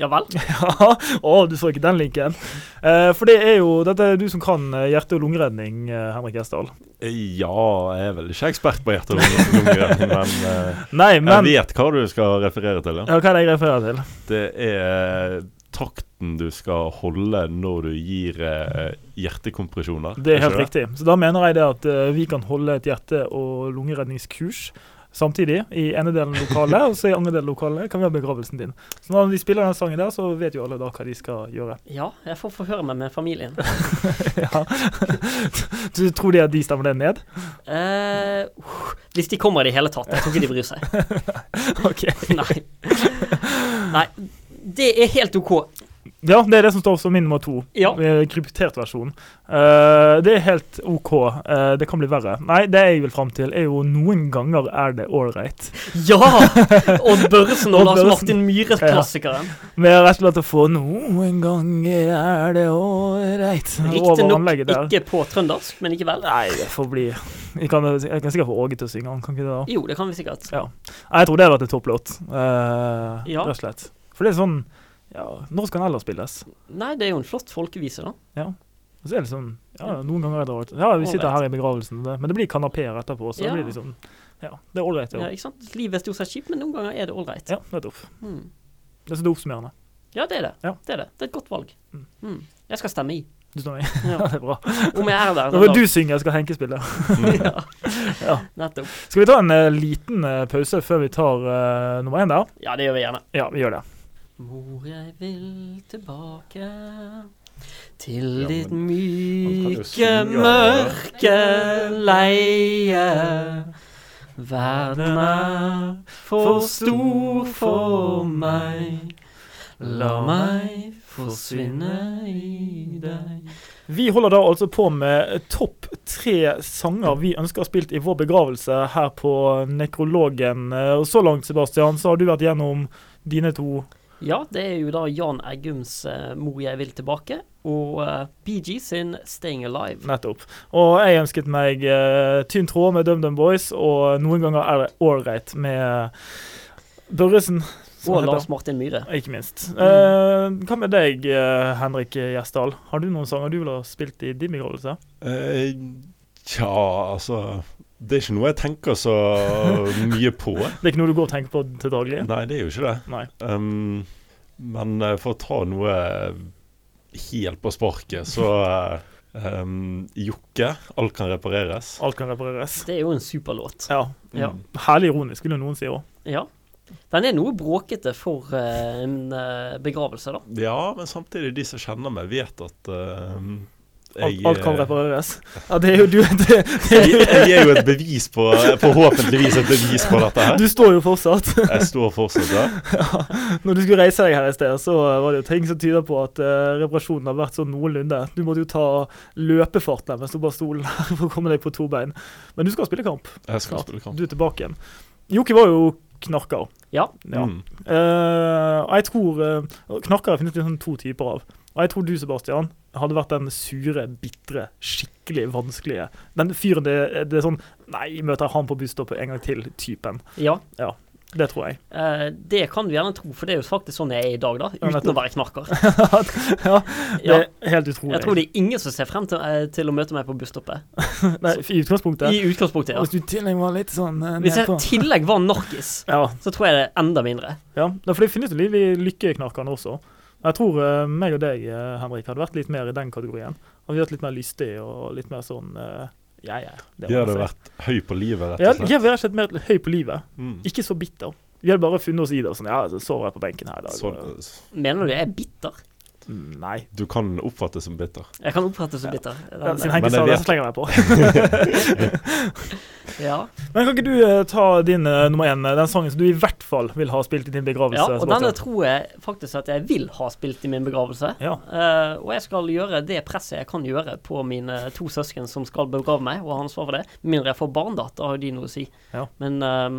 Ja vel?
Ja, Å, du så ikke den linken. Eh, for det er jo Dette er du som kan eh, hjerte- og lungeredning, eh, Henrik Gjesdal.
Ja, jeg er vel ikke ekspert på hjerte- og lungeredning, men eh,
Nei, men
jeg vet hva du skal referere til. Ja.
ja, Hva er det jeg refererer til?
Det er takten du skal holde når du gir eh, hjertekompresjoner.
Det er helt
ikke
riktig. Så da mener jeg det at eh, vi kan holde et hjerte- og lungeredningskurs samtidig. I ene delen lokale, og så i andre delen lokale kan vi ha begravelsen din. Så når de spiller den sangen der, så vet jo alle da hva de skal gjøre.
Ja, jeg får forhøre meg med familien.
Ja. Du tror de at de stemmer det ned?
Eh, uh, hvis de kommer i det hele tatt. Jeg tror ikke de bryr seg.
Ok.
Nei. Nei. Det er helt OK.
Ja, det er det som står som min nummer to.
Ja.
Eh, Kryptert versjon. Eh, det er helt OK. Eh, det kan bli verre. Nei, det jeg vil fram til, er jo noen ganger er det ålreit.
Ja! Odd Børresen og
Odd
Lars
Børresen.
Martin Myhre-klassikeren.
Med rett og slett å få Noen ganger er det ålreit over
Riktignok
anlegget der.
ikke på trøndersk, men ikke vel.
Nei, det får bli Jeg kan, jeg kan sikkert få Åge til å synge, han kan ikke det? da?
Jo, det kan vi sikkert.
Nei, Jeg tror det hadde vært en topplåt, eh,
Ja.
rett og slett. For det er sånn ja, Når skal den ellers spilles?
Nei, det er jo en flott folkevise, da.
Og så er det sånn Ja, noen ganger er det ålreit. Ja, vi sitter her i begravelsen, det, men det blir kanapeer etterpå, så
Ja.
det blir liksom Ja, det er ålreit,
Ja,
det òg.
ikke sant? Livet er stort sett kjipt, men noen ganger er det ålreit.
Ja, nettopp.
Mm.
Det er så det er oppsummerende.
Ja, det er det.
Ja.
Det er det. Det er et godt valg.
Mm.
Mm. Jeg skal stemme i.
Du står med.
Ja.
Ja, det er bra.
Om jeg er der.
Nå vil du synge, skal Henke spille.
ja.
Ja.
Nettopp.
Skal vi ta en eh, liten eh, pause før vi tar eh, nummer én der?
Ja, det gjør vi gjerne.
Ja, vi gjør det.
Mor, jeg vil tilbake til
Ja,
ditt
kan jo
myke,
synge, ja.
mørke leie. Verden er for stor for meg. La meg forsvinne i deg.
Vi holder da altså på med topp tre sanger vi ønsker spilt i vår begravelse her på Nekrologen. Eh, Og så langt, Sebastian, så har du vært gjennom dine to
Ja, det er jo da Jan Eggums eh, 'Mor, jeg vil tilbake' og eh, BG sin 'Staying Alive'.
nettopp. Og jeg ønsket meg eh, tynn tråd med DumDum Boys, og noen ganger er det ålreit med Børresen.
Sånn
som
Og
han heter.
Lars Mm. Martin Myhre.
Ikke minst. Eh, hva med deg, eh, Henrik Gjesdal? Har du noen sanger du ville ha spilt i din begravelse?
Eh, Tja, altså Det er ikke noe jeg tenker så mye på.
Det er ikke noe du går og tenker på til daglig?
Mm.
Nei, det er jo ikke det.
Nei.
Um, men eh, for å ta noe helt på sparket, så eh, um, Jokke, alt kan repareres.
Alt kan repareres.
Det er jo en super låt.
Ja.
Ja.
Mm.
Herlig ironisk, vil jo noen si òg.
Ja. Den er noe bråkete for eh, en eh, begravelse, da.
Ja, men samtidig, de som kjenner meg, vet at eh,
Alt, alt kan
eh,
repareres. Ja, det er jo du det,
jeg, jeg er jo et bevis på Forhåpentligvis et bevis på dette her.
Du står jo fortsatt.
Jeg står fortsatt der.
Når du skulle reise deg her i sted, så var det jo ting som tyder på at eh, reparasjonen har vært sånn noenlunde. Du måtte jo ta løpefart der mens du bar stolen her for å komme deg på to bein. Men du skal spille kamp.
Jeg skal
Snart.
spille kamp.
Du er tilbake igjen. Joki var jo knarker.
Ja.
Ja.
Mm.
Eh, og jeg tror eh, Knarkere finnes det sånn to typer av. Og jeg tror du, Sebastian, hadde vært den sure, bitre, skikkelig vanskelige. Den fyren det, det er sånn Nei, møter jeg han på busstoppet en gang til-typen.
ja.
Ja. Det tror jeg.
Eh, det kan du gjerne tro, for det er jo faktisk sånn jeg er i dag, da. Uten å
nettopp.
være knarker.
ja, det
Ja.
er helt utrolig.
Jeg tror det er ingen som ser frem til, eh, til å møte meg på busstoppet.
Nei, I utgangspunktet.
I utgangspunktet, ja.
Hvis du i tillegg var litt sånn eh,
Hvis jeg
nedpå.
i tillegg var narkis,
Ja,
så tror jeg det er enda mindre.
ja. Nei, for det finnes jo liv i lykkeknarkene også. Jeg tror eh, meg og deg, eh, Henrik, hadde vært litt mer i den kategorien. Hadde vi vært litt mer lystig og litt mer sånn eh, Ja, ja.
De hadde
ordner seg.
vært høy på livet,
Ja,
rett og slett.
ja, vi hadde sett mer høy på livet.
Mm.
Ikke så bitter. Vi hadde bare funnet oss i det. og Sånn, ja, så sover jeg på benken her i dag.
Sånn,
Mener du jeg er bitter?
Mm, Nei.
du kan oppfattes som bitter.
Jeg kan oppfattes som bitter.
Ja, siden
Den,
Henke
Men
sa
jeg
det,
vet-
så slenger jeg meg på.
ja.
Men kan ikke du eh, ta din eh, nummer én, eh, den sangen som du i hvert fall vil ha spilt i din begravelse?
ja, og
Sebastian?
denne tror jeg faktisk at jeg vil ha spilt i min begravelse.
Ja.
Eh, og jeg skal gjøre det presset jeg kan gjøre på mine to søsken som skal begrave meg, og ha ansvar for det. Med mindre jeg får barn, da. Da har jo de noe å si.
Ja.
Men eh,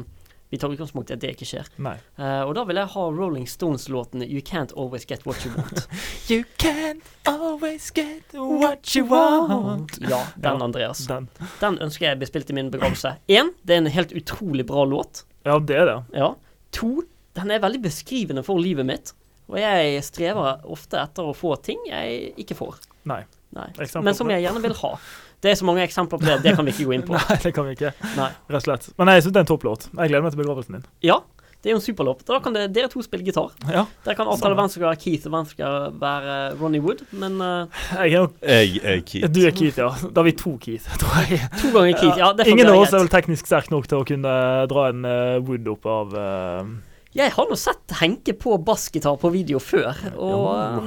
vi tar utgangspunkt i at det ikke skjer.
Nei.
Eh, og da vil jeg ha Rolling Stones-låten 'You Can't Always Get What You Want'.
You can't always get what you want.
Ja, den,
Ja.
Andreas.
Den.
Den ønsker jeg bespilt i min begravelse. Én, det er en helt utrolig bra låt.
Ja, det er det.
Ja. To, den er veldig beskrivende for livet mitt. Og jeg strever ofte etter å få ting jeg ikke får.
Nei.
Nei.
Eksempel
Men
på
som
det?
jeg gjerne vil ha. Det er så mange eksempler på det, det kan vi ikke gå inn på.
Nei, det kan vi ikke.
Nei.
Rett og slett. Men jeg syns det er en topplåt. Jeg gleder meg til begravelsen din.
Ja, det er jo en superlåt. Da kan det, dere to spille gitar.
Ja.
Dere kan avtale hvem som skal være Keith, og hvem som skal være Ronny Wood. Men eh,
Jeg er nok
Jeg er Keith.
Du er Keith, ja. Da er vi to Keith, tror jeg.
to ganger Keith, ja, det får
Ingen
være
av oss er
greit.
vel teknisk sterk nok til å kunne dra en eh, Wood opp av eh,
Jeg har nå sett Henke på bassgitar på video før, og eh,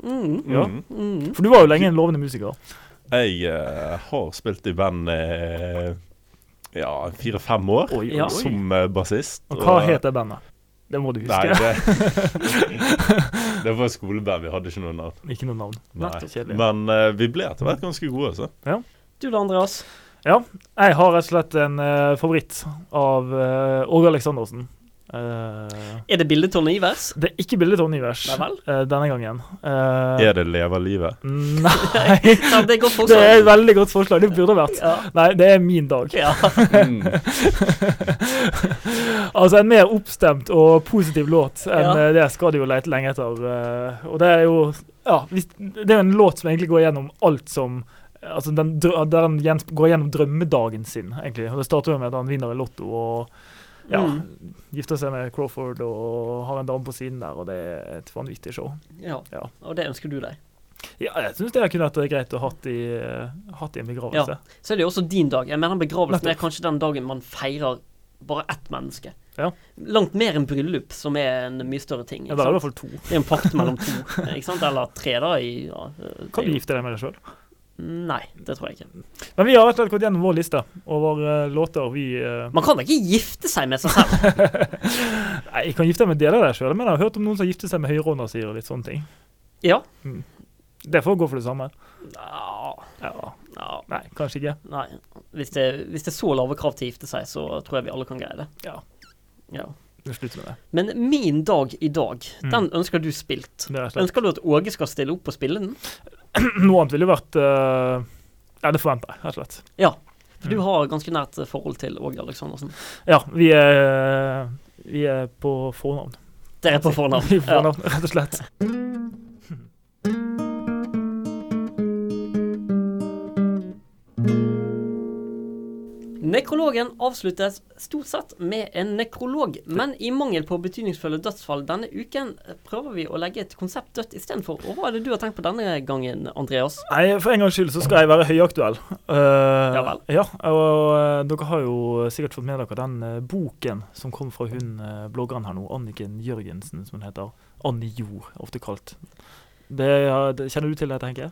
mm,
Ja.
Mm.
mm.
For du var jo lenge en lovende musiker.
Jeg eh, har spilt i band eh, ja, fire-fem år
Oi, oi,
Ja.
oi.
som eh, bassist.
Og hva het det bandet? Det må du huske.
Nei, det, det var et skoleband. Vi hadde ikke noe navn.
Ikke noe navn.
Nei.
Nettopp. Kjedelig.
Men eh, vi ble etter hvert ganske gode, altså.
Du da, Andreas?
Jeg har rett og slett en eh, favoritt av eh, Åge Aleksandersen. Eh,
Er det bildet Tone Ivers?
det er ikke bildet Tony Vers
Nei vel?
eh, denne gangen. Eh,
Er det lever livet?
Nei,
Ja, det går
det er et
fortsatt.
veldig godt forslag. Det burde vært.
Ja.
Nei, det er min dag.
Ja.
Mm.
Altså en mer oppstemt og positiv låt enn
Ja.
eh, det skal du jo lete lenge etter. eh, og det er jo ja, hvis, Det er jo en låt som egentlig går gjennom alt som Altså den, drø- der han gjens- går gjennom drømmedagen sin, egentlig. Og Det starter jo med at han vinner i Lotto og ja,
Mm.
gifter seg med Crawford og har en dame på siden der, og det er et vanvittig show.
ja.
Ja.
Og det ønsker du deg.
Ja, jeg syns det kunne vært eh, greit å hatt i, eh, hatt i en begravelse.
Så er det jo også din dag. Jeg mener Begravelsen er
Nettopp.
kanskje den dagen man feirer bare ett menneske.
Ja.
Langt mer enn bryllup, som er en mye større ting.
Ja,
Ikke
det er i
sant?
hvert fall to.
Det er en pakt mellom to, ikke sant? eller tre, da. I, ja, det
Kan
er
du
jo-
gifte deg med deg sjøl?
Nei, det tror jeg ikke.
Men vi har rett og slett gått gjennom vår liste over eh, låter vi eh,
Man kan da ikke gifte seg med seg selv?
Nei, jeg kan gifte meg med deler av deg sjøl, men jeg har hørt om noen som gifter seg med høyrehåndasier og litt sånne ting.
Ja.
Det får gå for det samme.
Ja.
Ja,
Ja.
nei, kanskje ikke.
Nei. Hvis det, hvis det er så lave krav til å gifte seg, så tror jeg vi alle kan greie det.
Ja.
ja.
Vi slutter med det.
Men min dag i dag,
Mm.
den ønsker du spilt.
det er rett og slett.
Ønsker du at Åge skal stille opp og spille den?
Noe annet ville jo vært eh, Ja, det forventer jeg, rett og slett.
Ja. For du
Mm.
har ganske nært eh, forhold til Åge Aleksandersen.
Ja, vi er, vi er på fornavn.
Dere er på fornavn.
Vi er på
Ja.
fornavn, rett og slett.
Nekrologen avsluttes stort sett med en nekrolog, men i mangel på betydningsfulle dødsfall denne uken eh, prøver vi å legge et konsept dødt istedenfor. Og hva er det du har tenkt på denne gangen, Andreas?
Nei, for en gangs skyld så skal jeg være høyaktuell. Eh,
Ja vel.
Ja, og eh, dere har jo sikkert fått med dere den eh, boken som kom fra hun eh, bloggeren her nå, Anniken Jørgensen, som hun heter. Annie Jord, ofte kalt. Det, ja, det, kjenner du til dette, Henke?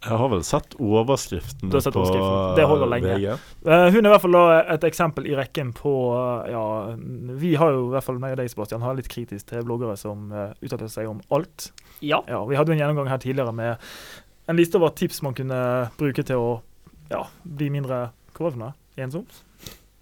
Jeg har vel sett overskriften
Du har sett
på
overskriften. Det holder lenge.
VG.
Eh, hun er i hvert fall da et eksempel i rekken på eh, Ja, vi har jo i hvert fall meg og deg, Sebastian, har litt kritisk til bloggere som eh, uttaler seg om alt.
Ja.
Ja, Vi hadde jo en gjennomgang her tidligere med en liste over tips man kunne bruke til å ja, bli mindre Hva var det for noe? Ensom?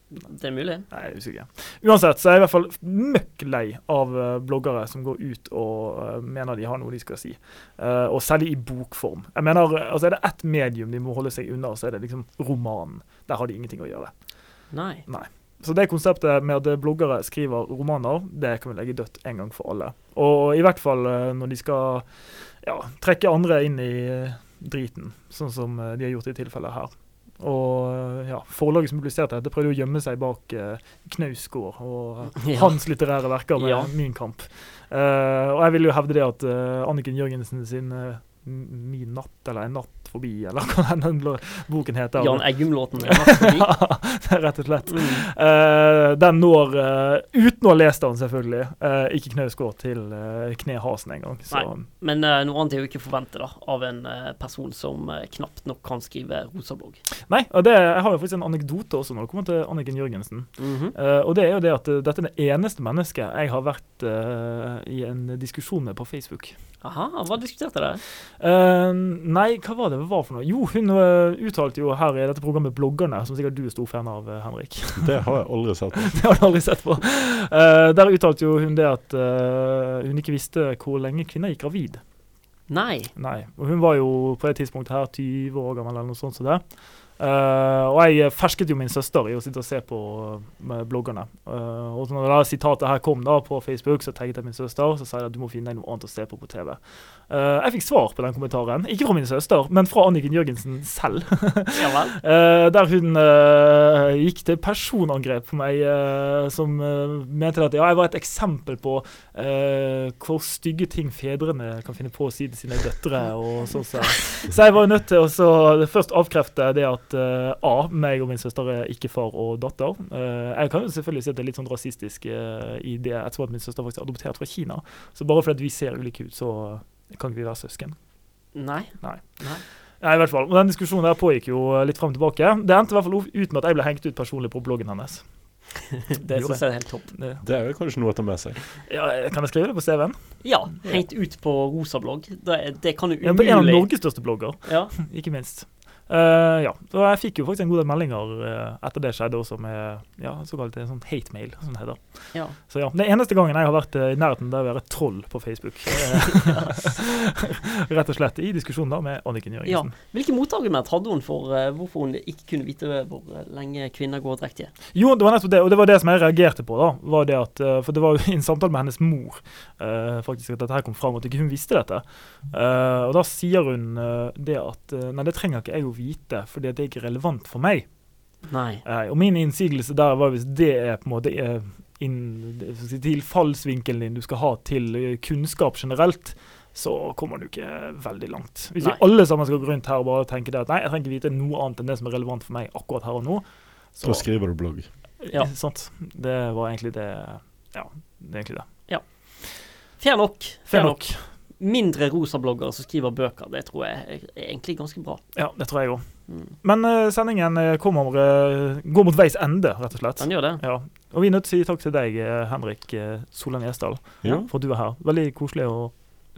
Det er mulig.
Nei, jeg er usikker. Uansett så er jeg i hvert fall møkk lei av eh, bloggere som går ut og eh, mener de har noe de skal si, Eh, og særlig i bokform. Jeg mener, eh, altså Er det ett medium de må holde seg unna, så er det liksom romanen. Der har de ingenting å gjøre.
Nei.
Nei. Så det konseptet med at bloggere skriver romaner, det kan vi legge dødt en gang for alle. Og i hvert fall eh, når de skal ja, trekke andre inn i eh, driten, sånn som eh, de har gjort i tilfellet her. Og eh, ja, forlaget som publiserte dette, prøvde å gjemme seg bak eh, Knausgård og eh,
Ja.
hans litterære verker med
Ja.
Min kamp. Eh, og jeg vil jo hevde det at eh, Anniken Jørgensen sin eh, Min natt, eller En natt forbi, eller hva den boken heter.
Jan Eggum-låten. er masse forbi.
Det er Rett og slett.
Mm.
Eh, den når, eh, uten å ha lest den selvfølgelig, eh, ikke Knausgård til uh, knehasen engang. Så
Men eh, noe annet er jo ikke å forvente da, av en eh, person som eh, knapt nok kan skrive rosablogg.
Nei, og det, jeg har jo faktisk en anekdote også når det kommer til Anniken Jørgensen.
Mhm.
Eh, og det er jo det at eh, dette er det eneste mennesket jeg har vært eh, i en diskusjon med på Facebook.
Aha, hva diskuterte dere?
Eh, nei, hva var det det var for noe? Jo, hun eh, uttalte jo her i dette programmet Bloggerne, som sikkert du er stor fan av, eh, Henrik.
Det har jeg aldri sett.
Det har du aldri sett på. Eh, der uttalte jo hun det at eh, hun ikke visste hvor lenge kvinner gikk gravid.
Nei.
Nei. Og hun var jo på det tidspunktet her 20 år gammel eller noe sånt som det. Eh, og jeg fersket jo min søster i å sitte og se på eh, med bloggerne. Eh, og når det der sitatet her kom da på Facebook, så tagget jeg min søster og så sa jeg at du må finne deg noe annet å se på på TV. Eh, jeg fikk svar på den kommentaren. Ikke fra min søster, men fra Anniken Jørgensen selv.
Ja vel.
Eh, der hun eh, gikk til personangrep på meg, eh, som eh, mente at ja, jeg var et eksempel på eh, hvor stygge ting fedrene kan finne på å si til sine døtre. og sånn så. så jeg var jo nødt til å så først avkrefte det at eh, A, meg og min søster er ikke far og datter. Eh, jeg kan jo selvfølgelig si at det er litt sånn rasistisk eh, i det ettersom at min søster faktisk er adoptert fra Kina. Så bare fordi at vi ser ulike ut, så kan ikke vi være søsken.
Nei.
Ja, i hvert fall. Og den diskusjonen der pågikk jo eh, litt frem og tilbake. Det endte i hvert fall ut med at jeg ble hengt ut personlig på bloggen hennes.
Det
Gjorde
syns jeg er helt topp.
Det-
Det er vel kanskje noe å ta med seg.
Ja, kan jeg skrive det på CV-en?
Ja. Hengt ut på rosablogg. Det, det kan jo
Ja, på en av
umulig
Norges største blogger,
ja.
ikke minst. Eh, ja, og jeg fikk jo faktisk en god del meldinger eh, etter det skjedde også med ja, såkalt en sånn hate mail, som det heter.
ja.
Så ja, det eneste gangen jeg har vært eh, i nærheten der å være troll på Facebook. Eh, Rett og slett i diskusjon da med Anniken
ja.
Jørgensen.
Hvilke motargument hadde hun for eh, hvorfor hun ikke kunne vite hvor eh, lenge kvinner går drektige?
Jo, det var nettopp det, og det var det som jeg reagerte på. da, var det at, eh, For det var jo i en samtale med hennes mor eh, faktisk at dette her kom fram, og at ikke hun visste dette. Eh, og da sier hun eh, det at eh, Nei, det trenger ikke jeg å vite, fordi at det er ikke relevant for meg.
Nei.
Eh, og min innsigelse der var hvis det er på en måte eh, inn, det- skal jeg si, tilfallsvinkelen din du skal ha til eh, kunnskap generelt, så kommer du ikke veldig langt. Hvis
Nei.
vi alle sammen skal gå rundt her og bare tenke det at nei, jeg trenger ikke vite noe annet enn det som er relevant for meg akkurat her og nå.
Så skriver du blogg.
Ja.
Ja. Sant. Det var egentlig det Ja, det er egentlig det.
Fair nok.
Fair nok.
Mindre rosabloggere som skriver bøker, det tror jeg er er egentlig ganske bra.
Ja, det tror jeg òg.
Mm.
Men eh, sendingen eh, kommer, eh, går mot veis ende, rett og slett.
Den gjør det.
Ja. Og vi er nødt til å si takk til deg, eh, Henrik eh, Solan Gjesdal,
Ja.
for at du er her. Veldig koselig å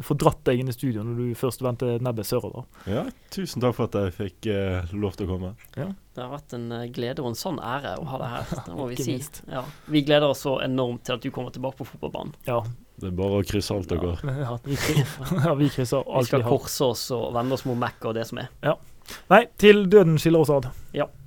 få dratt deg inn i studio når du først vendte nebbet sørover.
ja, tusen takk for at jeg fikk eh, lov til å komme.
Det har vært en eh, glede og en sann ære å ha deg her. Det må vi
Ikke
si.
minst.
Ja. Vi gleder oss så enormt til at du kommer tilbake på fotballbanen.
Ja.
Det er bare å krysse alt dere går.
ja, vi ja, vi krysser
Vi
alt vi
skal
har.
korse oss og vende oss mot Mac og det som er.
Nei, til døden skiller oss ad.
Ja.